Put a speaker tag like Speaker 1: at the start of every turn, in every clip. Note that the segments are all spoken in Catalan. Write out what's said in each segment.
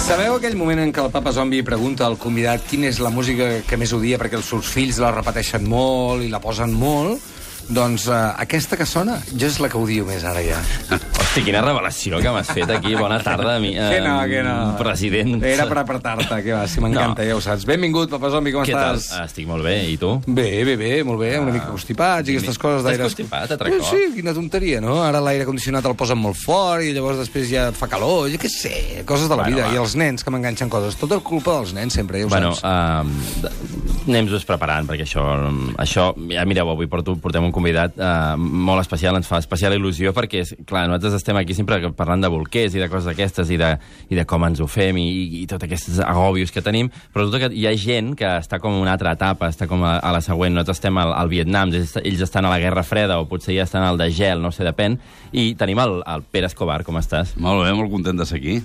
Speaker 1: Sabeu aquell moment en què el papa zombi pregunta al convidat quina és la música que més odia perquè els seus fills la repeteixen molt i la posen molt? Doncs eh, aquesta que sona, jo és la que odio més ara ja.
Speaker 2: Hosti, quina revelació que m'has fet aquí. Bona tarda, mi, eh,
Speaker 1: que no, que no.
Speaker 2: president.
Speaker 1: Era per apartar-te, que va, si m'encanta,
Speaker 2: No.
Speaker 1: ja ho saps. Benvingut, papa zombi, com
Speaker 2: Què tal? Ah,
Speaker 1: estàs?
Speaker 2: Estic molt bé, i tu?
Speaker 1: Bé, bé, bé, molt bé, una mica constipats i aquestes coses
Speaker 2: Estàs
Speaker 1: d'aire...
Speaker 2: constipat, altre cop?
Speaker 1: Sí, quina tonteria, no? Ara l'aire condicionat el posen molt fort i llavors després ja et fa calor, jo què sé, coses de la
Speaker 2: Bueno,
Speaker 1: vida.
Speaker 2: va.
Speaker 1: I els nens que m'enganxen coses, tot és culpa dels nens sempre, ja ho
Speaker 2: Bueno,
Speaker 1: saps.
Speaker 2: uh, anem doncs preparant, perquè això, um, això... Ja mireu, avui porto, portem un convidat uh, molt especial, ens fa especial il·lusió, perquè, és- clar, nosaltres estem aquí sempre parlant de bolquers i de coses d'aquestes, i, de, i de com ens ho fem, i, i tots aquests agòbios que tenim, però resulta que hi ha gent que està com a una altra etapa, està com a, a la següent. Nosaltres estem al, al Vietnam, ells, ells estan a la Guerra Freda, o potser ja estan al de gel, no sé, depèn, i tenim el, el Pere Escobar, com estàs?
Speaker 3: Molt bé, molt content de ser aquí.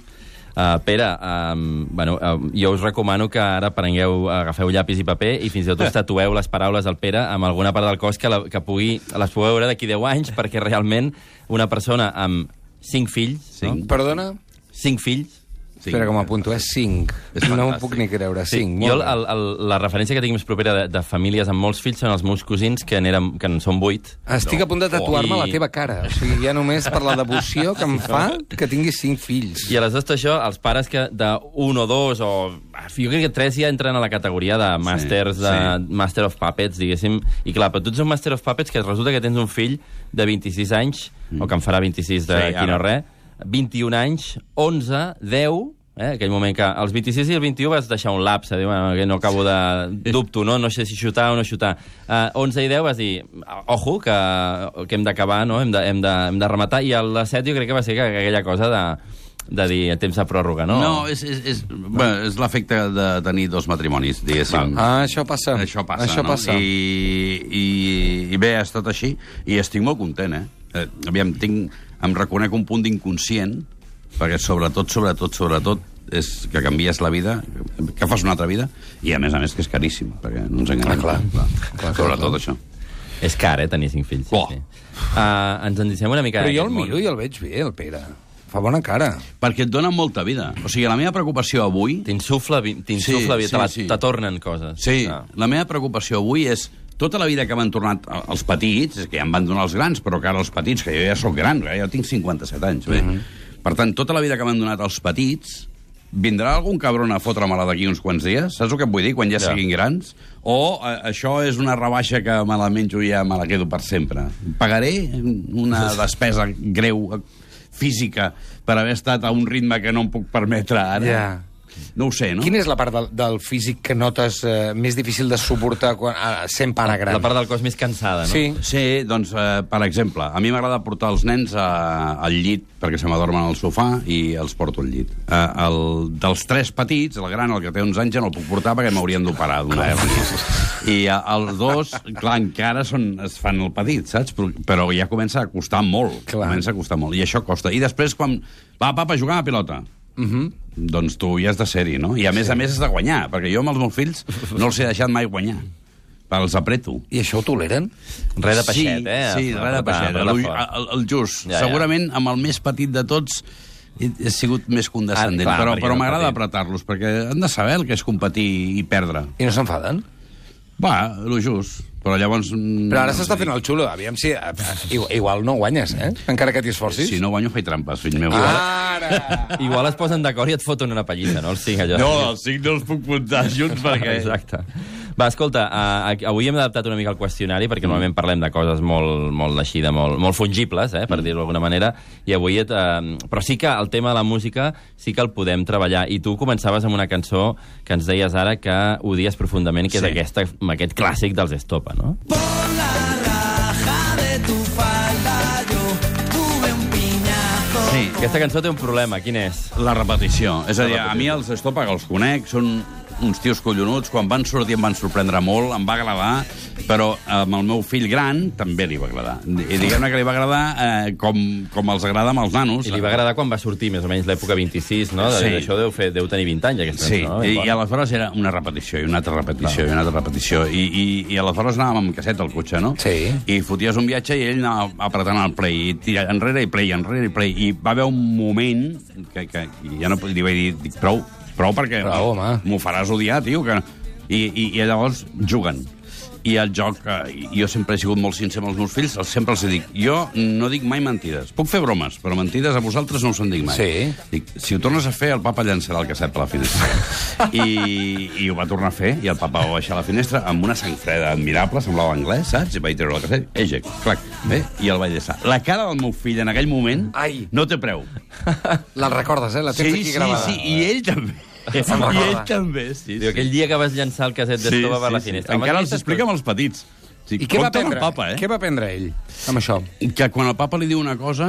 Speaker 2: Uh, Pere, um, bueno, uh, jo us recomano que ara prengueu, agafeu llapis i paper i fins i tot us tatueu les paraules del Pere amb alguna part del cos que, la, que pugui, les pugueu veure d'aquí 10 anys, perquè realment una persona amb 5 fills,
Speaker 3: Cinc.
Speaker 2: no?
Speaker 1: Perdona?
Speaker 2: 5 fills,
Speaker 3: Cinc.
Speaker 1: Espera que m'apunto, eh? 5.
Speaker 3: És
Speaker 1: No m'ho
Speaker 3: fantàstic.
Speaker 1: puc ni creure, 5.
Speaker 2: Sí,
Speaker 1: Sí,
Speaker 2: jo el, el, el, la referència que tinc més propera de, de famílies amb molts fills són els meus cosins, que, n'érem, que en són 8.
Speaker 1: Estic a punt de tatuar-me
Speaker 2: I-
Speaker 1: la teva cara. O sigui, ja només per la devoció que em fa que tinguis 5 fills.
Speaker 2: I aleshores tot això, els pares que de un o dos o... ah, Jo crec que tres ja entren a la categoria de màsters, de
Speaker 3: sí.
Speaker 2: Master of Puppets, diguéssim. I clar, però tu ets un Master of Puppets que resulta que tens un fill de 26 anys, mm. o que en farà 26 de
Speaker 3: Sí,
Speaker 2: sí, aquí no
Speaker 3: ara.
Speaker 2: res, 21 anys, 11, 10... Eh, aquell moment que als 26 i el 21 vas deixar un lapse, dir, bueno, que no acabo de... Dubto, no? No sé si xutar o no xutar. Uh, 11 i 10 vas dir, ojo, que, que hem d'acabar, no? Hem de, hem, de, hem de rematar. I a les 7 jo crec que va ser que, que aquella cosa de, de dir el temps de pròrroga, no?
Speaker 3: No, és, és, és, bueno, és l'efecte de tenir dos matrimonis, diguéssim.
Speaker 1: Ah, això passa.
Speaker 3: Això passa,
Speaker 1: això
Speaker 3: no?
Speaker 1: Passa. I...
Speaker 3: I, i, I bé, ha estat així, i estic molt content, eh? eh aviam, tinc, em reconec un punt d'inconscient, perquè sobretot, sobretot, sobretot, és que canvies la vida, que fas una altra vida, i a més a més que és caríssim, perquè no ens
Speaker 1: Ah,
Speaker 3: enganyem.
Speaker 1: clar.
Speaker 3: clar,
Speaker 1: clar,
Speaker 3: sobretot
Speaker 1: clar.
Speaker 3: això.
Speaker 2: És car, eh, tenir cinc fills.
Speaker 3: Buah.
Speaker 2: Uh, ens endicem una mica...
Speaker 1: Però
Speaker 2: en
Speaker 1: jo
Speaker 2: aquest
Speaker 1: el
Speaker 2: món.
Speaker 1: miro i el veig bé, el Pere. Fa bona cara.
Speaker 3: Perquè et donen molta vida. O sigui, la meva preocupació avui...
Speaker 2: T'insufla, vi- t'insufla,
Speaker 3: Sí,
Speaker 2: sí,
Speaker 3: sí,
Speaker 2: te, la,
Speaker 3: sí.
Speaker 2: te tornen coses.
Speaker 3: Sí,
Speaker 2: Ah.
Speaker 3: la meva preocupació avui és tota la vida que m'han tornat a- els petits, és que ja em van donar els grans, però que ara els petits, que jo ja sóc gran, eh? jo tinc 57 anys. Bé. Per tant, tota la vida que m'han donat els petits, vindrà algun cabron a fotre-me-la d'aquí uns quants dies? Saps el que et vull dir? Quan ja,
Speaker 2: Ja.
Speaker 3: siguin grans? O eh, això és una rebaixa que me la menjo i ja me la quedo per sempre? Pagaré una despesa greu física per haver estat a un ritme que no em puc permetre ara?
Speaker 1: Ja.
Speaker 3: No ho sé, no?
Speaker 1: No? Quina és la part del, del físic que notes eh, més difícil de suportar quan, a, sent pare gran?
Speaker 2: La part del cos més cansada, no?
Speaker 1: Sí.
Speaker 3: Sí, doncs, eh, per exemple, a mi m'agrada portar els nens a, al llit perquè se m'adormen al sofà i els porto al llit. Eh, el, dels tres petits, el gran, el que té 11 anys, ja no el puc portar perquè m'haurien d'operar d'una hernia. I eh, els dos, clar, encara són, es fan el petit, saps? Però, però ja comença a costar molt.
Speaker 1: Clar.
Speaker 3: Comença a costar molt. I això costa. I després, quan va, papa, a jugar a la pilota. Uh -huh. Doncs tu hi has de ser-hi, no? I a més a més has de guanyar, perquè jo amb els meus fills no els he deixat mai guanyar. Els apreto.
Speaker 1: I això ho toleren?
Speaker 2: Res de peixet,
Speaker 3: sí,
Speaker 2: eh?
Speaker 3: Sí, res de peixet. El, el, el just.
Speaker 2: Ja, ja.
Speaker 3: Ja, Segurament amb el més petit de tots he he sigut més condescendent,
Speaker 2: Ah, clar,
Speaker 3: ah, però,
Speaker 2: perquè
Speaker 3: però
Speaker 2: era
Speaker 3: m'agrada
Speaker 2: petit.
Speaker 3: apretar-los, perquè han de saber el que és competir i perdre.
Speaker 1: I no s'enfaden?
Speaker 3: Va, el just. Però llavors... mm,
Speaker 1: Però ara s'està fent el xulo. Aviam si... eh, Igual, igual no guanyes, eh? Encara que t'hi esforcis.
Speaker 3: Si no guanyo, faig trampes, fill meu.
Speaker 1: Ah. Ara!
Speaker 2: Igual es posen d'acord i et foten una pallissa, no? Els cinc, allò.
Speaker 3: els cinc no els puc puntar junts
Speaker 2: Exacte. Va, escolta, a- a- avui hem adaptat una mica el qüestionari, perquè normalment parlem de coses molt, molt així, de molt, molt fungibles, eh, per dir-ho d'alguna manera, i avui... Et, eh, però sí que el tema de la música sí que el podem treballar. I tu començaves amb una cançó que ens deies ara que odies profundament, que és
Speaker 3: Sí.
Speaker 2: aquesta, amb aquest clàssic dels Estopa, no?
Speaker 4: Por la raja de tu
Speaker 2: Aquesta cançó té un problema, quin és?
Speaker 3: La repetició. És a dir, a mi els Estopa, que els conec, són uns tios collonuts. Quan van sortir em van sorprendre molt, em va agradar, però amb el meu fill gran també li va agradar. I diguem-ne que li va agradar eh, com, com els agrada amb els nanos.
Speaker 2: I li va agradar quan va sortir, més o menys, l'època 26, no?
Speaker 3: Sí.
Speaker 2: Sí. Això deu, fer, deu tenir 20 anys, aquesta
Speaker 3: Sí,
Speaker 2: cançó. No?
Speaker 3: i, i aleshores era una repetició, i una altra repetició, i una altra repetició. I, i, i aleshores anàvem amb casset al cotxe, no?
Speaker 1: Sí.
Speaker 3: I foties un viatge i ell anava apretant el play, i tira enrere i play, enrere i play. I va haver un moment que, que ja no li vaig dir, dic, prou, prou perquè
Speaker 1: Prou, home.
Speaker 3: m'ho faràs odiar, tio. Que... I, i, I llavors juguen. I el joc, eh, jo sempre he sigut molt sincer amb els meus fills, els- sempre els dic, jo no dic mai mentides. Puc fer bromes, però mentides a vosaltres no us en dic mai.
Speaker 1: Sí.
Speaker 3: Dic, si ho tornes a fer, el papa llançarà el casset per la finestra. I, I ho va tornar a fer, i el papa va baixar a la finestra amb una sang freda admirable, semblava anglès, saps? I vaig treure el casset, eject, clac, bé, i el vaig llançar. La cara del meu fill en aquell moment
Speaker 1: Ai.
Speaker 3: no té preu.
Speaker 1: La recordes, eh? La tens
Speaker 3: Sí,
Speaker 1: aquí
Speaker 3: sí,
Speaker 1: gravada.
Speaker 3: sí, i ell també. I
Speaker 1: Se'n recorda.
Speaker 3: ell també, sí,
Speaker 2: Diu,
Speaker 3: sí.
Speaker 2: aquell dia que vas llançar el caset d'estova per la finestra. Home,
Speaker 3: Encara els
Speaker 2: aquestes
Speaker 3: explica amb els petits. Sí,
Speaker 1: I què va
Speaker 3: compte amb
Speaker 1: aprendre?
Speaker 3: El papa, eh?
Speaker 1: Què va aprendre ell amb això?
Speaker 3: Que quan el papa li diu una cosa,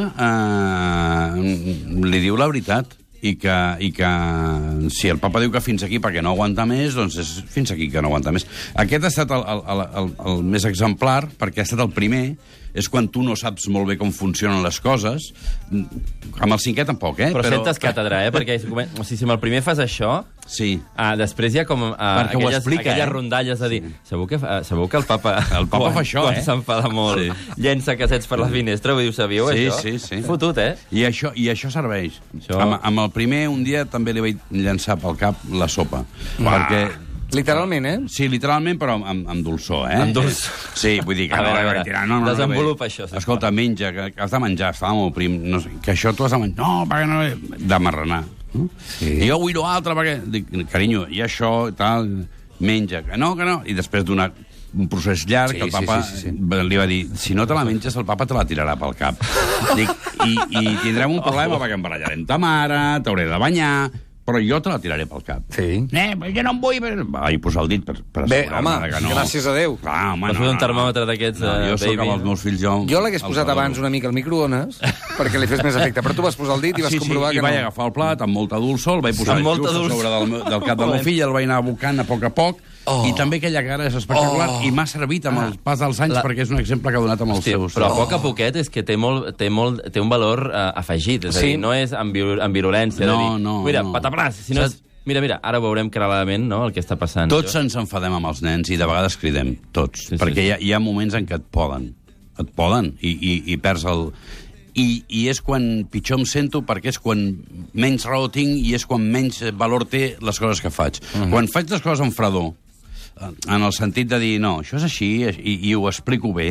Speaker 3: eh, li diu la veritat. I que, I que si el papa diu que fins aquí perquè no aguanta més, doncs és fins aquí que no aguanta més. Aquest ha estat el, el, el, el, el més exemplar, perquè ha estat el primer, és quan tu no saps molt bé com funcionen les coses. Amb el cinquè tampoc, eh?
Speaker 2: Però, però sentes càtedra, eh? Perquè és- o sigui, si amb el primer fas això,
Speaker 3: Sí.
Speaker 2: ah, després hi ha com ah,
Speaker 3: Perquè ho
Speaker 2: aquelles,
Speaker 3: explica,
Speaker 2: aquelles
Speaker 3: eh?
Speaker 2: rondalles de dir... Segur que, fa- ah, segur que el papa...
Speaker 3: El papa
Speaker 2: quan,
Speaker 3: fa això,
Speaker 2: quan
Speaker 3: eh?
Speaker 2: s'enfada molt,
Speaker 3: Sí.
Speaker 2: llença casets per la finestra, ho diu, sabíeu,
Speaker 3: Sí,
Speaker 2: això?
Speaker 3: sí, sí.
Speaker 2: Fotut, eh?
Speaker 3: I això, i això serveix.
Speaker 2: Això-
Speaker 3: Això... Amb, amb el primer, un dia també li vaig llançar pel cap la sopa. Perquè...
Speaker 1: Literalment, eh?
Speaker 3: Sí, literalment, però amb, amb dolçor, eh?
Speaker 2: Amb dolçor.
Speaker 3: Sí, vull dir que...
Speaker 2: A veure, a
Speaker 3: no,
Speaker 2: veure,
Speaker 3: tirar, no, no, no,
Speaker 2: desenvolupa
Speaker 3: bé.
Speaker 2: això, sisplau.
Speaker 3: Escolta, menja, que, que has de menjar, estava molt prim. No sé, que això tu has de menjar... No, perquè no... De marranar. no?
Speaker 1: Sí.
Speaker 3: I jo vull l'altre, perquè... Dic, carinyo, i això, tal... Menja, que no, que no... I després d'una un procés llarg
Speaker 1: Sí,
Speaker 3: que el
Speaker 1: sí,
Speaker 3: papa
Speaker 1: sí, sí, sí.
Speaker 3: li va dir, si no te la menges, el papa te la tirarà pel cap. Dic, i, I tindrem un
Speaker 2: Oh.
Speaker 3: problema perquè em barallarem ta mare, t'hauré de banyar, però jo te la tiraré pel cap.
Speaker 1: Sí.
Speaker 3: Eh, però jo no em vull... Però... Vaig posar el dit per, per
Speaker 1: Bé,
Speaker 3: assegurar-me
Speaker 1: home,
Speaker 3: de que no.
Speaker 1: gràcies a Déu.
Speaker 3: Clar, home,
Speaker 2: Vas
Speaker 3: no,
Speaker 2: fer un
Speaker 3: no,
Speaker 2: termòmetre d'aquests,
Speaker 3: No,
Speaker 2: eh,
Speaker 3: jo sóc
Speaker 2: baby,
Speaker 3: amb els
Speaker 2: no?
Speaker 3: meus fills... Jo,
Speaker 1: Jo l'hagués
Speaker 3: els
Speaker 1: posat
Speaker 3: adoro.
Speaker 1: abans una mica al microones perquè li fes més efecte, però tu vas posar el dit i vas
Speaker 3: Ah, sí,
Speaker 1: comprovar
Speaker 3: sí,
Speaker 1: que
Speaker 3: i vaig
Speaker 1: no.
Speaker 3: agafar el plat amb molta dolçor, el vaig posar
Speaker 2: Amb molta
Speaker 3: just a
Speaker 2: dolçor.
Speaker 3: sobre del, meu- del cap del meu fill, el vaig anar abocant a poc a poc, oh. i també aquella cara és espectacular, oh. i m'ha servit amb el pas dels anys,
Speaker 2: Ah. La-
Speaker 3: la... perquè és un exemple que ha donat amb els
Speaker 2: Sí,
Speaker 3: seus.
Speaker 2: però a poc a poquet és que té, molt, té, molt, té un valor eh, afegit. És
Speaker 1: Sí.
Speaker 2: a dir, no és amb, viol amb virulència.
Speaker 3: No,
Speaker 2: de dir,
Speaker 3: no,
Speaker 2: Mira,
Speaker 3: no.
Speaker 2: pataplàs, si no és...
Speaker 3: Saps?
Speaker 2: Mira, mira, ara veurem clarament no, el que està passant.
Speaker 3: Tots ens enfadem amb els nens i de vegades cridem, tots.
Speaker 2: Sí,
Speaker 3: Sí,
Speaker 2: sí,
Speaker 3: perquè
Speaker 2: sí.
Speaker 3: Hi, ha, hi ha moments en què et poden. Et poden i, i, i perds el... I, I és quan pitjor em sento perquè és quan menys raó tinc i és quan menys valor té les coses que faig. Mm -hmm. Quan faig les coses amb fredor, en el sentit de dir, no, això és així i, i ho explico bé,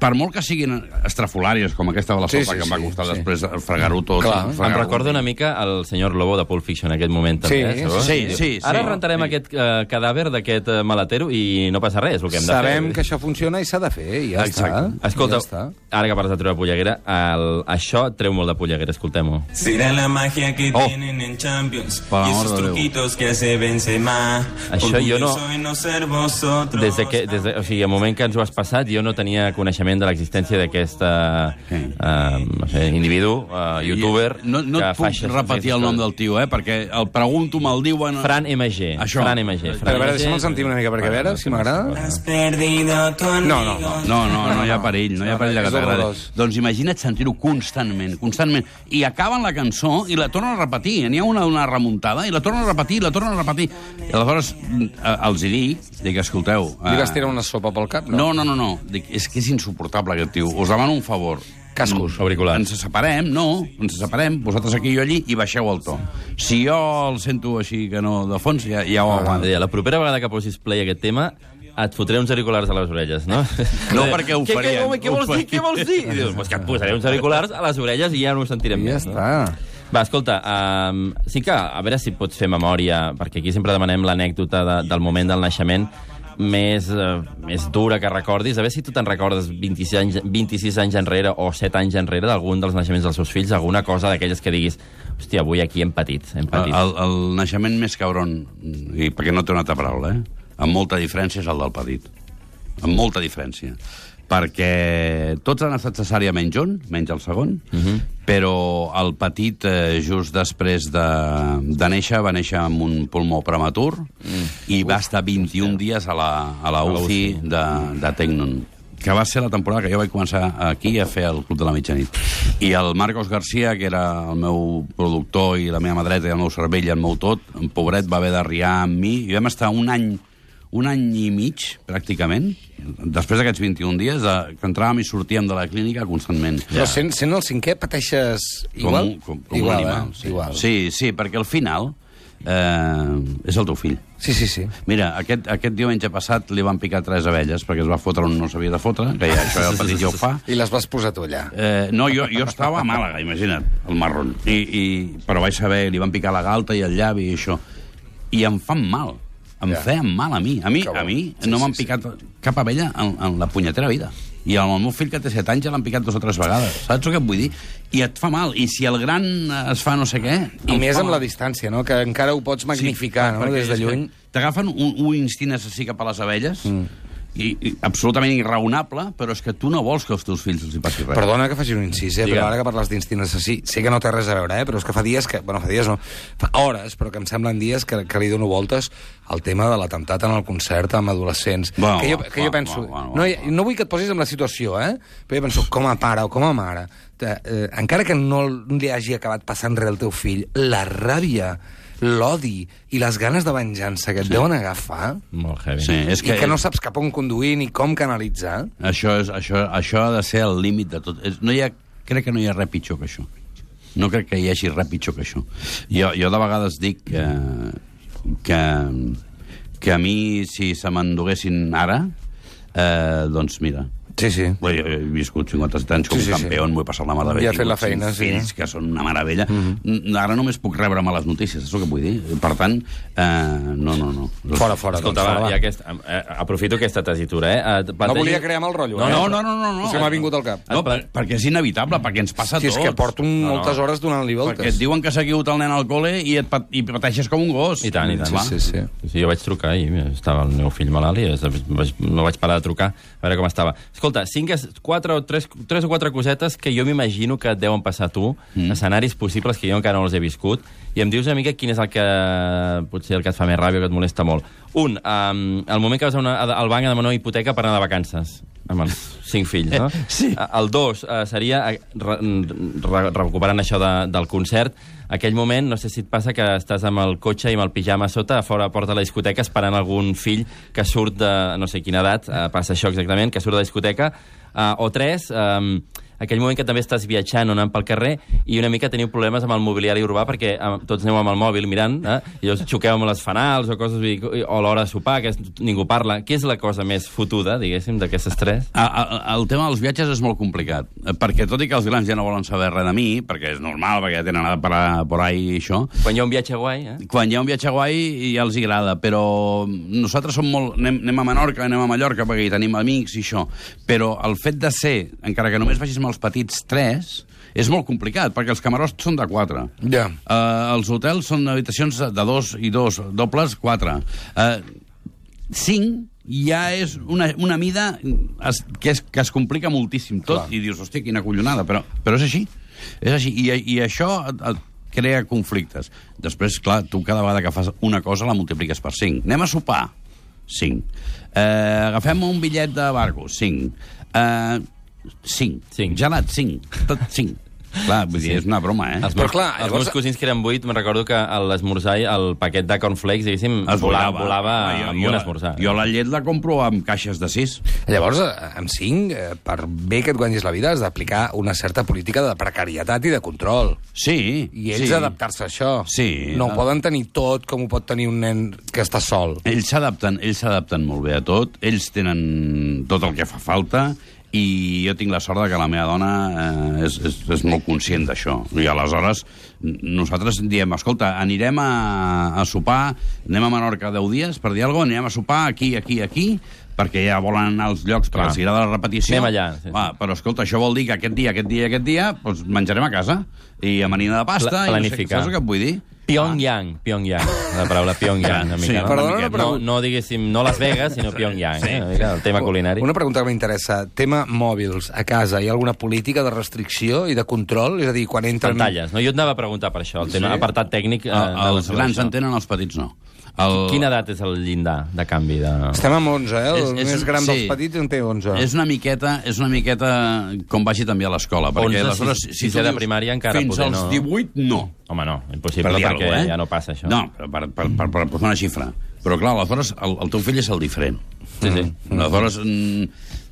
Speaker 3: per molt que siguin estrafolàries, com aquesta de la
Speaker 1: Sí,
Speaker 3: sopa
Speaker 1: sí,
Speaker 3: que em va
Speaker 1: sí,
Speaker 3: costar
Speaker 1: sí.
Speaker 3: després fregar-ho tot.
Speaker 1: Clar, em
Speaker 2: Em
Speaker 3: fregar-ho.
Speaker 2: recorda una mica el senyor Lobo de Pulp Fiction en aquest moment, també.
Speaker 1: Sí,
Speaker 2: eh, segons?
Speaker 3: sí,
Speaker 2: Diu,
Speaker 3: sí, sí.
Speaker 2: Ara rentarem
Speaker 3: Sí.
Speaker 2: aquest eh, cadàver d'aquest eh, maletero i no passa res, el que hem de
Speaker 1: Sabem que
Speaker 2: fer.
Speaker 1: això funciona i s'ha de fer, i ja
Speaker 3: Exacte.
Speaker 1: està.
Speaker 2: Escolta,
Speaker 1: ja està.
Speaker 2: ara que parles de treure polleguera, el... això treu molt de polleguera, escoltem-ho.
Speaker 5: Será la magia que
Speaker 3: Oh.
Speaker 5: tienen en Champions
Speaker 3: Por
Speaker 5: y
Speaker 3: amor
Speaker 5: esos
Speaker 3: de Dios.
Speaker 5: truquitos que hace Benzema.
Speaker 2: Això jo no-
Speaker 5: Orgulloso en no ser vosotros.
Speaker 2: Des de que, des de, o sigui, al moment que ens ho has passat, jo no tenia coneixement de l'existència d'aquest uh, uh, no sé, individu, uh, youtuber...
Speaker 3: I No, no
Speaker 2: que
Speaker 3: et
Speaker 2: fa
Speaker 3: puc
Speaker 2: aquestes-
Speaker 3: repetir el nom del tio, eh? Perquè el pregunto, me'l diuen...
Speaker 2: Fran MG.
Speaker 3: Això.
Speaker 2: Fran MG. Fran
Speaker 1: Però a veure,
Speaker 2: MG.
Speaker 1: deixa'm sentir una mica, perquè a veure si m'agrada.
Speaker 5: Has perdido a tu
Speaker 1: No, no,
Speaker 5: amigo.
Speaker 1: no.
Speaker 3: No, no, no hi ha perill, no hi ha perill de que
Speaker 1: És
Speaker 3: t'agradi.
Speaker 1: horrorós.
Speaker 3: Doncs imagina't sentir-ho constantment, constantment. I acaben la cançó i la tornen a repetir. N'hi ha una, una remuntada i la tornen a repetir, i la tornen a repetir. I aleshores mm, eh, els hi dic, dic, escolteu...
Speaker 1: Li
Speaker 3: eh,
Speaker 1: vas tirar una sopa pel cap, no?
Speaker 3: No, no, no, no. Dic, és que és insuportable aquest tio. Us demano un favor.
Speaker 1: Cascos,
Speaker 3: Mm,
Speaker 2: auriculars.
Speaker 3: Ens separem, no, ens separem, vosaltres aquí i jo allí, i baixeu el to. Si jo el sento així que no de fons, ja, Ah, ja ho aguanto.
Speaker 2: Adrià, la propera vegada que posis play a aquest tema et fotré uns auriculars a les orelles, no?
Speaker 3: No, perquè ho
Speaker 2: Què-
Speaker 3: farien,
Speaker 2: Què, home, què
Speaker 3: ho
Speaker 2: vols dir?
Speaker 3: farien.
Speaker 2: Què vols dir? I dius, pues que et posaré uns auriculars a les orelles i ja no ho sentirem
Speaker 1: I ja
Speaker 2: més.
Speaker 1: està.
Speaker 2: No? Va, escolta, um, sí que a veure si pots fer memòria, perquè aquí sempre demanem l'anècdota de, del moment del naixement més, eh, més dura que recordis. A veure si tu te'n recordes 26 anys, 26 anys enrere o 7 anys enrere d'algun dels naixements dels seus fills, alguna cosa d'aquelles que diguis hòstia, avui aquí hem patit, hem patit.
Speaker 3: El, el naixement més cabron, i perquè no té una altra paraula, eh? amb molta diferència és el del petit. Amb molta diferència. perquè tots han estat cesària menys un, menys el segon, Mhm. però el petit, eh, just després de, de néixer, va néixer amb un pulmó prematur i va estar 21 dies a la, Mm. a la UCI de, de Tecnon que va ser la temporada que jo vaig començar aquí a fer el Club de la Mitjanit. I el Marcos Garcia, que era el meu productor i la meva mà dreta i el meu cervell i el meu tot, en pobret va haver de riar amb mi i vam estar un any un any i mig, pràcticament, després d'aquests 21 dies, de, que entràvem i sortíem de la clínica constantment.
Speaker 1: Però sent, sent el cinquè pateixes igual?
Speaker 3: Com, com, com
Speaker 1: igual,
Speaker 3: un animal.
Speaker 1: Eh? Igual.
Speaker 3: Sí, sí, perquè al final eh, és el teu fill.
Speaker 1: sí, sí. sí.
Speaker 3: Mira, aquest, aquest diumenge passat li van picar tres abelles perquè es va fotre on no s'havia de fotre, que ja, això ja el petit ja ho fa.
Speaker 1: I les vas posar tu allà.
Speaker 3: Eh, no, jo, jo estava a Màlaga, imagina't, al marrón. I, i, però vaig saber, li van picar la galta i el llavi i això. I em fan mal.
Speaker 1: Ja.
Speaker 3: Em yeah. feien mal a mi. A mi,
Speaker 1: Que bo.
Speaker 3: a mi
Speaker 1: Sí,
Speaker 3: no m'han
Speaker 1: sí, sí.
Speaker 3: picat cap abella en, en la punyetera vida. I al meu fill, que té 7 anys, ja l'han picat dues o tres vegades. Saps el que et vull dir? I et fa mal. I si el gran es fa no sé què...
Speaker 1: I
Speaker 3: em
Speaker 1: més
Speaker 3: fa
Speaker 1: amb
Speaker 3: mal.
Speaker 1: la distància, no? que encara ho pots magnificar no?
Speaker 3: perquè
Speaker 1: des de
Speaker 3: és
Speaker 1: lluny.
Speaker 3: que T'agafen un, un instint assassí cap a les abelles, mm. i, i absolutament irraonable, però és que tu no vols que els teus fills els hi passi res.
Speaker 1: Perdona que faci un incís, eh?
Speaker 3: Digue'm.
Speaker 1: però ara que parles d'instint assassí, sé que no té res a veure, eh? però és que fa dies que... Bueno, fa dies no, fa hores, però que em semblen dies que, que li dono voltes al tema de l'atemptat en el concert amb adolescents.
Speaker 3: Bueno,
Speaker 1: que jo,
Speaker 3: bueno,
Speaker 1: que jo
Speaker 3: bueno,
Speaker 1: penso...
Speaker 3: bueno, bueno,
Speaker 1: no,
Speaker 3: bueno.
Speaker 1: i- no vull que et posis en la situació, eh? però jo penso, com a pare o com a mare, te, eh, encara que no li hagi acabat passant res al teu fill, la ràbia, l'odi i les ganes de venjança que et sí. deuen agafar...
Speaker 2: Molt heavy.
Speaker 3: Sí, és que,
Speaker 1: I que no saps cap on conduir ni com canalitzar...
Speaker 3: això, és, això, això ha de ser el límit de tot. És- No hi ha, crec que no hi ha res pitjor que això. No crec que hi hagi res pitjor que això. Jo, jo de vegades dic que, que, que a mi, si se m'enduguessin ara, eh, doncs mira,
Speaker 1: Sí, sí.
Speaker 3: Bé, jo he viscut 57 anys com
Speaker 1: Sí,
Speaker 3: sí,
Speaker 1: sí,
Speaker 3: sí,
Speaker 1: sí.
Speaker 3: campió, sí. m'ho he passat la mà de bé.
Speaker 1: Ja ha
Speaker 3: he
Speaker 1: fet la
Speaker 3: tingut
Speaker 1: feina,
Speaker 3: cinc
Speaker 1: sí. Mhm.
Speaker 3: Fills, que són una meravella. Mm -hmm. Ara només puc rebre males notícies, és el que vull dir. Per tant, eh, no, no, no.
Speaker 1: Fora, fora. doncs,
Speaker 2: Escolta,
Speaker 1: fora,
Speaker 2: va,
Speaker 1: va.
Speaker 2: i aquest, eh, aprofito aquesta tessitura, eh? eh?
Speaker 1: No
Speaker 2: plantegi-
Speaker 1: volia crear mal rotllo,
Speaker 3: No,
Speaker 1: eh?
Speaker 3: no, no, no, no, no.
Speaker 1: És que m'ha vingut al cap.
Speaker 3: No, per, perquè és inevitable, perquè ens passa a
Speaker 1: Si
Speaker 3: tots.
Speaker 1: és que porto un,
Speaker 3: No, no.
Speaker 1: moltes hores donant-li
Speaker 3: Perquè et
Speaker 1: voltes.
Speaker 3: diuen que s'ha equivocat el nen al col·le i, et, pat- i pateixes com un gos.
Speaker 2: I tant, i tant.
Speaker 3: Clar.
Speaker 1: Sí, sí.
Speaker 2: Sí, jo vaig trucar i estava el meu fill malalt i es- vaig, no vaig parar de trucar a veure com estava. Escolta, cinc, es- quatre o tres, tres o quatre cosetes que jo m'imagino que et deuen passar a tu, mm. escenaris possibles que jo encara no els he viscut, i em dius una mica quin és el que potser el que et fa més ràbia o que et molesta molt. Un, um, el moment que vas a una, a- al banc a demanar una hipoteca per anar de vacances amb els cinc fills, no?
Speaker 3: Sí.
Speaker 2: A- El dos eh, seria, eh, re, re, recuperant això de, del concert, aquell moment, no sé si et passa que estàs amb el cotxe i amb el pijama a sota, a fora a porta de la discoteca, esperant algun fill que surt de no sé quina edat, eh, passa això exactament, que surt de la discoteca, eh, o tres... Eh, aquell moment que també estàs viatjant o anant pel carrer i una mica teniu problemes amb el mobiliari urbà perquè eh, tots aneu amb el mòbil mirant eh, i us xoqueu amb les fanals o coses vull dir, o a l'hora de sopar que es- ningú parla. Què és la cosa més fotuda, diguéssim, d'aquestes tres?
Speaker 3: A, a, el tema dels viatges és molt complicat, eh, perquè tot i que els grans ja no volen saber res de mi, perquè és normal, perquè ja tenen anat per, a- per ahí i això,
Speaker 2: Quan hi ha un viatge guai, eh?
Speaker 3: quan hi ha un viatge guai ja els hi agrada, però nosaltres som molt... Anem, anem a Menorca, anem a Mallorca, perquè hi tenim amics i això. Però el fet de ser, encara que només vagis amb els petits tres, és molt complicat, perquè els camarots són de quatre.
Speaker 1: Ja.
Speaker 3: Eh, els hotels són habitacions de, de dos i dos, dobles, quatre. Eh, cinc ja és una, una mida es, que, es, que es complica moltíssim tot i dius, hòstia, quina collonada, però, però és així. És així, i, i això et, et crea conflictes. Després, clar, tu cada vegada que fas una cosa la multipliques per 5. Anem a sopar? 5. Eh, agafem un bitllet de barco? 5. Eh, 5.
Speaker 2: Cinc.
Speaker 3: Gelat? 5. Tot 5. Clar, vull dir, és una broma, eh?
Speaker 2: Els
Speaker 1: Però
Speaker 2: meus,
Speaker 1: clar,
Speaker 2: els
Speaker 1: llavors-
Speaker 2: meus cosins que eren vuit, me'n recordo que a l'esmorzar el paquet de cornflakes, diguéssim,
Speaker 3: Es
Speaker 2: volava, volava
Speaker 3: Ah, jo-
Speaker 2: amb
Speaker 3: jo
Speaker 2: un
Speaker 3: la-
Speaker 2: esmorzar.
Speaker 3: Jo la llet la compro amb caixes de 6.
Speaker 1: Llavors, eh, amb cinc, eh, per bé que et guanyis la vida, has d'aplicar una certa política de precarietat i de control.
Speaker 3: Sí.
Speaker 1: I ells
Speaker 3: sí.
Speaker 1: adaptar-se a això.
Speaker 3: Sí.
Speaker 1: No ho poden tenir tot com ho pot tenir un nen que està sol.
Speaker 3: Ells s'adapten, ells s'adapten molt bé a tot, ells tenen tot el que fa falta i jo tinc la sort de que la meva dona eh, és, és, és molt conscient d'això. I aleshores n- nosaltres diem, escolta, anirem a, a sopar, anem a Menorca 10 dies per dir alguna cosa, anirem a sopar aquí, aquí, aquí, perquè ja volen anar als llocs per
Speaker 2: Clar.
Speaker 3: els agrada la repetició.
Speaker 2: Anem allà, sí, sí.
Speaker 3: Va, però escolta, això vol dir que aquest dia, aquest dia, i aquest dia, doncs menjarem a casa i amanida de pasta.
Speaker 2: Pla-
Speaker 3: i no sé,
Speaker 2: planificar.
Speaker 3: saps el que et vull dir?
Speaker 2: Pyongyang, Pyongyang, la paraula Pyongyang, una
Speaker 3: Sí,
Speaker 2: mica, no?
Speaker 1: perdona,
Speaker 2: Una miqueta.
Speaker 1: però-
Speaker 2: no, no diguéssim, no Las Vegas, sinó Pyongyang, eh? una mica, el tema culinari.
Speaker 1: Una pregunta que m'interessa. Tema mòbils. A casa hi ha alguna política de restricció i de control? És a dir, quan entren...
Speaker 2: Pantalles, no? Jo et anava a preguntar per això, el tema,
Speaker 3: Sí?
Speaker 2: apartat tècnic... eh,
Speaker 3: El,
Speaker 2: anava
Speaker 3: els
Speaker 2: sobre
Speaker 3: grans
Speaker 2: això.
Speaker 3: entenen, els petits no. El...
Speaker 2: Quina edat és el llindar de canvi de...
Speaker 1: Estem amb 11, eh? El
Speaker 3: És- és-
Speaker 1: més gran
Speaker 3: sí.
Speaker 1: dels petits en té 11.
Speaker 3: És una miqueta, és una miqueta com vagi també a l'escola. Perquè
Speaker 2: 11,
Speaker 3: aleshores,
Speaker 2: si-
Speaker 3: si,
Speaker 2: sisè
Speaker 3: tu
Speaker 2: de
Speaker 3: dius
Speaker 2: primària encara
Speaker 3: fins
Speaker 2: poder
Speaker 3: als
Speaker 2: no.
Speaker 3: 18, no.
Speaker 2: Home, no, impossible,
Speaker 3: dir-ho,
Speaker 2: perquè ja no passa això.
Speaker 3: eh? No, però per, per, per, per posar una xifra. Però clar, aleshores el, el teu fill és el diferent.
Speaker 2: Sí, sí.
Speaker 3: Aleshores mm,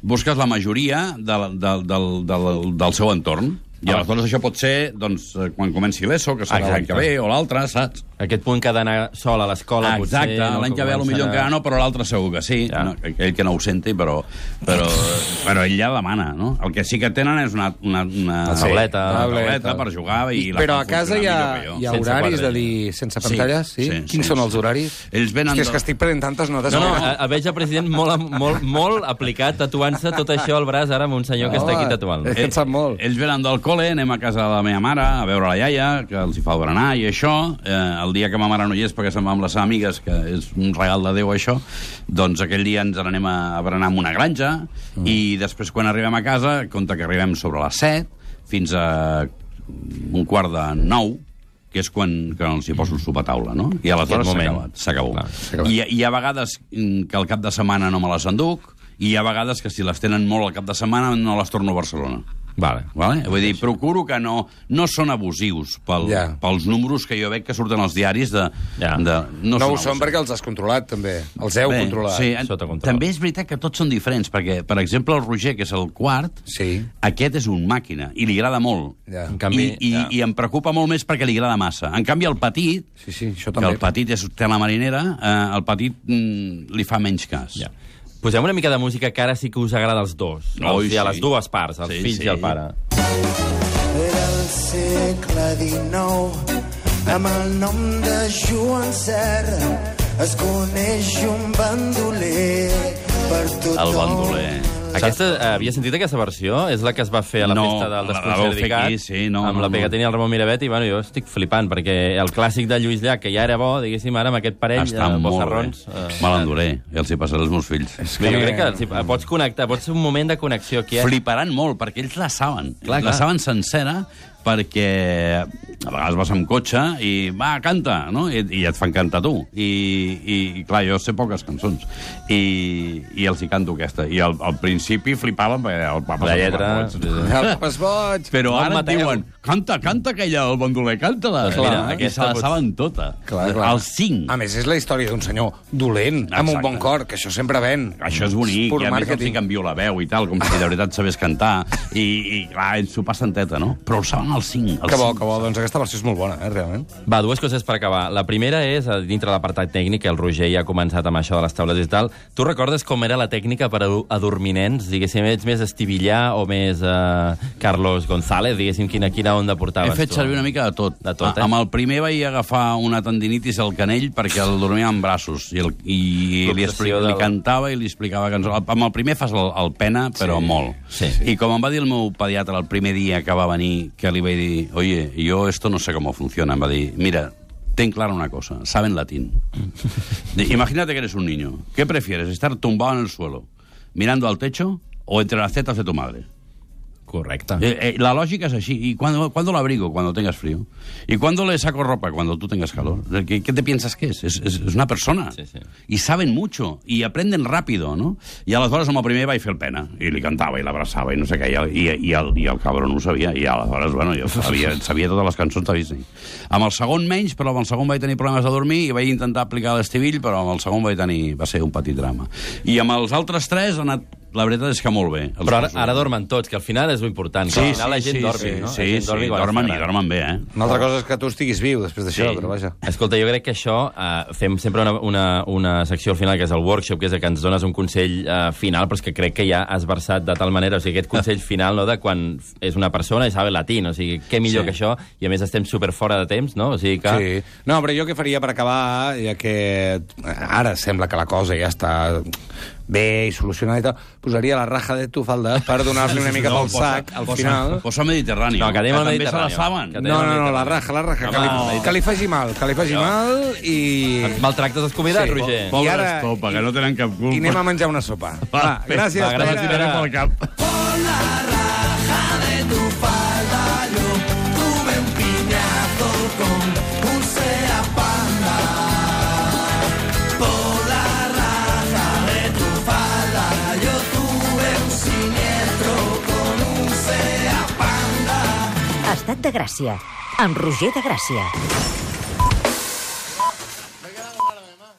Speaker 3: busques la majoria de, la- de, del, del, del seu entorn. I
Speaker 2: Ah.
Speaker 3: aleshores això pot ser doncs, eh, quan comenci l'ESO, que serà l'any
Speaker 2: Exacte.
Speaker 3: que ve, o l'altre, saps?
Speaker 2: Aquest punt que ha d'anar sol a l'escola, potser...
Speaker 3: Ah, Exacte, l'any que ve
Speaker 2: comencen
Speaker 3: potser
Speaker 2: a-
Speaker 3: encara no, però l'altre segur que sí.
Speaker 2: Ja.
Speaker 3: No, aquell que no ho senti, però, però, però ell ja demana, no? El que sí que tenen és una... una, una
Speaker 2: La tauleta.
Speaker 3: Una
Speaker 2: La
Speaker 3: tauleta per jugar i... la
Speaker 1: Però
Speaker 3: fan
Speaker 1: a casa hi
Speaker 3: funcionar
Speaker 1: ha,
Speaker 3: millor que jo.
Speaker 1: hi ha
Speaker 2: Sense
Speaker 1: horaris de
Speaker 2: quadrilla.
Speaker 1: dir sense
Speaker 3: Sí,
Speaker 1: pantalles? Sí,
Speaker 3: sí,
Speaker 1: sí?
Speaker 3: sí,
Speaker 1: Quins
Speaker 3: sí,
Speaker 1: són els
Speaker 3: sí.
Speaker 1: horaris?
Speaker 3: Ells venen
Speaker 1: Hòstia, és
Speaker 3: de-
Speaker 1: que estic prenent tantes notes.
Speaker 2: No, no,
Speaker 1: que-
Speaker 2: a, a veig el president molt, molt, molt aplicat, tatuant-se tot això al braç ara amb un senyor que està aquí
Speaker 1: Home,
Speaker 2: tatuant.
Speaker 1: és que em
Speaker 3: eh,
Speaker 1: sap molt.
Speaker 3: Ells venen del col·le, anem a casa de la meva mare a veure la iaia, que els hi fa el berenar i això. Eh, el dia que ma mare no hi és perquè se'n va amb les seves amigues, que és un regal de Déu això, doncs aquell dia ens n'anem a, a berenar en una granja mm. i després quan arribem a casa, compte que arribem sobre les 7 fins a un quart de 9, que és quan, quan els hi poso el sopar a taula, no? I aleshores
Speaker 2: Aquest
Speaker 3: s'ha
Speaker 2: moment.
Speaker 3: acabat. S'ha
Speaker 2: Clar,
Speaker 3: acabat.
Speaker 2: s'ha
Speaker 3: I hi ha, hi ha vegades mm, que al cap de setmana no me les enduc, i hi ha vegades que si les tenen molt al cap de setmana no les torno a Barcelona.
Speaker 2: Vale.
Speaker 3: Vale? eh? Vull dir, procuro que no, no són abusius pel,
Speaker 1: Ja.
Speaker 3: yeah. pels números que jo veig que surten als diaris de...
Speaker 2: Ja.
Speaker 3: de
Speaker 1: no, no ho
Speaker 3: abusius.
Speaker 1: són perquè els has controlat, també. Els heu
Speaker 3: Bé,
Speaker 1: controlat.
Speaker 3: Sí, en-
Speaker 2: Sota control.
Speaker 3: també és veritat que tots són diferents, perquè, per exemple, el Roger, que és el quart,
Speaker 1: Sí.
Speaker 3: aquest és un màquina, i li agrada molt.
Speaker 1: Ja.
Speaker 2: En canvi,
Speaker 3: I, i,
Speaker 2: ja.
Speaker 3: I em preocupa molt més perquè li agrada massa. En canvi, el petit,
Speaker 1: Sí, sí, això
Speaker 3: que
Speaker 1: també.
Speaker 3: el petit és, té la marinera, eh, el petit mm, li fa menys cas.
Speaker 2: Ja. Posem una mica de música que ara sí que us agrada als dos.
Speaker 3: Oi,
Speaker 2: No? o sigui, a
Speaker 3: sí.
Speaker 2: les dues parts, els
Speaker 3: Sí,
Speaker 2: sí, fills
Speaker 3: sí.
Speaker 2: i el pare.
Speaker 4: Del segle XIX amb el nom de Joan Serra es coneix un bandoler per tothom.
Speaker 3: El bandoler.
Speaker 2: Aquesta, eh, havia sentit aquesta versió? És la que es va fer a la
Speaker 3: No,
Speaker 2: festa del
Speaker 3: la- la
Speaker 2: desconcert
Speaker 3: vau fer
Speaker 2: d'Icat,
Speaker 3: aquí, sí, no,
Speaker 2: amb
Speaker 3: no,
Speaker 2: la
Speaker 3: no.
Speaker 2: pegatina i el Ramon Miravet, i bueno, jo estic flipant, perquè el clàssic de Lluís Llach, que ja era bo, diguéssim, ara amb aquest parell,
Speaker 3: Està
Speaker 2: eh,
Speaker 3: molt bé.
Speaker 2: bossarrons... eh,
Speaker 3: Me l'enduré, i els hi passaré als meus fills.
Speaker 2: Bé, jo crec que si, eh, pots connectar, pots ser un moment de connexió aquí. Eh?
Speaker 3: fliparan molt, perquè ells la saben.
Speaker 2: Clar,
Speaker 3: Clar,
Speaker 2: clar.
Speaker 3: la saben sencera, perquè a vegades vas amb cotxe i va, canta, no? I, i et fan cantar tu. I, i, i clar, jo sé poques cançons. I, i els hi canto aquesta. I al, al principi flipaven perquè el papa...
Speaker 2: La
Speaker 3: és un
Speaker 2: lletra...
Speaker 3: barboig.
Speaker 1: El papa és boig.
Speaker 3: Però
Speaker 2: Juan
Speaker 3: ara et
Speaker 2: Mateu.
Speaker 3: diuen, canta, canta aquella, el bandoler, canta-la.
Speaker 2: Doncs
Speaker 1: mira,
Speaker 3: Clar, I
Speaker 2: aquesta
Speaker 3: se la
Speaker 2: pot-
Speaker 3: saben tota.
Speaker 1: Clar, clar.
Speaker 3: Els cinc.
Speaker 1: A més, és la història d'un senyor dolent, amb un
Speaker 3: Exacte.
Speaker 1: bon cor, que això sempre ven.
Speaker 3: Mm. Això és bonic,
Speaker 1: pur
Speaker 3: i a més els hi
Speaker 1: màrqueting.
Speaker 3: canvio la veu i tal, com si de veritat sabés cantar. I, i clar, ells s'ho passen teta, no? Però ho saben els cinc. Els
Speaker 1: Que bo,
Speaker 3: cinc.
Speaker 1: que bo. Doncs aquesta versió és molt bona, eh, realment.
Speaker 2: Va, dues coses per acabar. La primera és, eh, dintre l'apartat tècnic, el Roger ja ha començat amb això de les taules i tal, tu recordes com era la tècnica per a adorminents? Diguéssim, ets més Estivillar o més eh, Carlos González? Diguéssim, quina, quina onda portaves
Speaker 3: He fet
Speaker 2: tu?
Speaker 3: servir una mica de tot.
Speaker 2: De tot, eh?
Speaker 3: A, amb el primer vaig agafar una tendinitis al canell perquè el dormia en braços i, el, i li, expli,
Speaker 2: L'obsessió del-
Speaker 3: li cantava i li explicava cançons. El- Amb el primer fas el, el pena, però sí. molt.
Speaker 2: Sí, sí.
Speaker 3: I com em va dir el meu pediatre el primer dia que va venir, que li vaig dir, oye, yo esto no sé cómo funciona, em va dir, mira, ten clara una cosa, saben latín. De- Imagínate que eres un niño. ¿Qué prefieres, estar tumbado en el suelo, mirando al techo o entre las tetas de tu madre?
Speaker 2: Correcte.
Speaker 3: Eh, eh, la lógica es así. ¿Y cuándo, cuándo lo abrigo? Cuando tengas frío. ¿Y cuándo le saco ropa? Cuando tú tengas calor. ¿Qué, qué te piensas que es? Es, es- es una persona.
Speaker 2: Sí, sí.
Speaker 3: Y saben mucho. Y aprenden rápido, ¿no? Y a las horas como primer vaig fer el pena. I li cantava i l'abrazava i no sé què. I, el- i, i, el, I el cabron ho sabia. I aleshores, bueno, jo sabia, sabia totes les cançons de Disney. Amb el segon menys, però amb el segon vaig tenir problemes de dormir i vaig intentar aplicar l'estivill, però amb el segon vaig tenir... va ser un petit drama. I amb els altres tres ha anat... La veritat és que molt bé. Els
Speaker 2: Però ara,
Speaker 3: dos.
Speaker 2: ara dormen tots, que al final és l'important. que al final la gent dormi,
Speaker 3: sí,
Speaker 2: no?
Speaker 3: Sí,
Speaker 2: la gent
Speaker 3: sí,
Speaker 2: dormi quan
Speaker 3: dormen
Speaker 2: està
Speaker 3: i
Speaker 2: gran.
Speaker 3: dormen bé, eh?
Speaker 1: Una altra cosa és que tu estiguis viu després d'això,
Speaker 3: Sí.
Speaker 1: però vaja.
Speaker 2: Escolta, jo crec que això, eh, fem sempre una, una, una secció al final, que és el workshop, que és el que ens dones un consell eh, final, però és que crec que ja has versat de tal manera, o sigui, aquest consell final, no?, de quan és una persona i sabe latín, o sigui, què millor
Speaker 3: Sí.
Speaker 2: que això, i a més estem super fora de temps, no?, o sigui que...
Speaker 1: Sí. eh, No, però jo què faria per acabar, ja que ara sembla que la cosa ja està bé i solucionada i tal, posaria la raja de tu falda per donar-li una mica pel sac al
Speaker 3: posa,
Speaker 1: final.
Speaker 3: Posa Mediterrani.
Speaker 2: No, que anem al
Speaker 3: també se la
Speaker 2: Mediterrani. Que
Speaker 3: saben. Que
Speaker 2: anem-
Speaker 1: No, no, no, la raja, la raja, que li, que li faci mal, que li faci mal i...
Speaker 2: Maltractes els convidats,
Speaker 1: Sí.
Speaker 2: Roger?
Speaker 1: Bo-
Speaker 3: Pobres
Speaker 1: ara-
Speaker 3: topa, que no tenen cap culpa.
Speaker 1: I anem a menjar una sopa. Va, gràcies,
Speaker 2: va,
Speaker 1: Pere.
Speaker 2: gràcies, Pere.
Speaker 3: Anem al cap.
Speaker 6: Estat de Gràcia, amb Roger de Gràcia.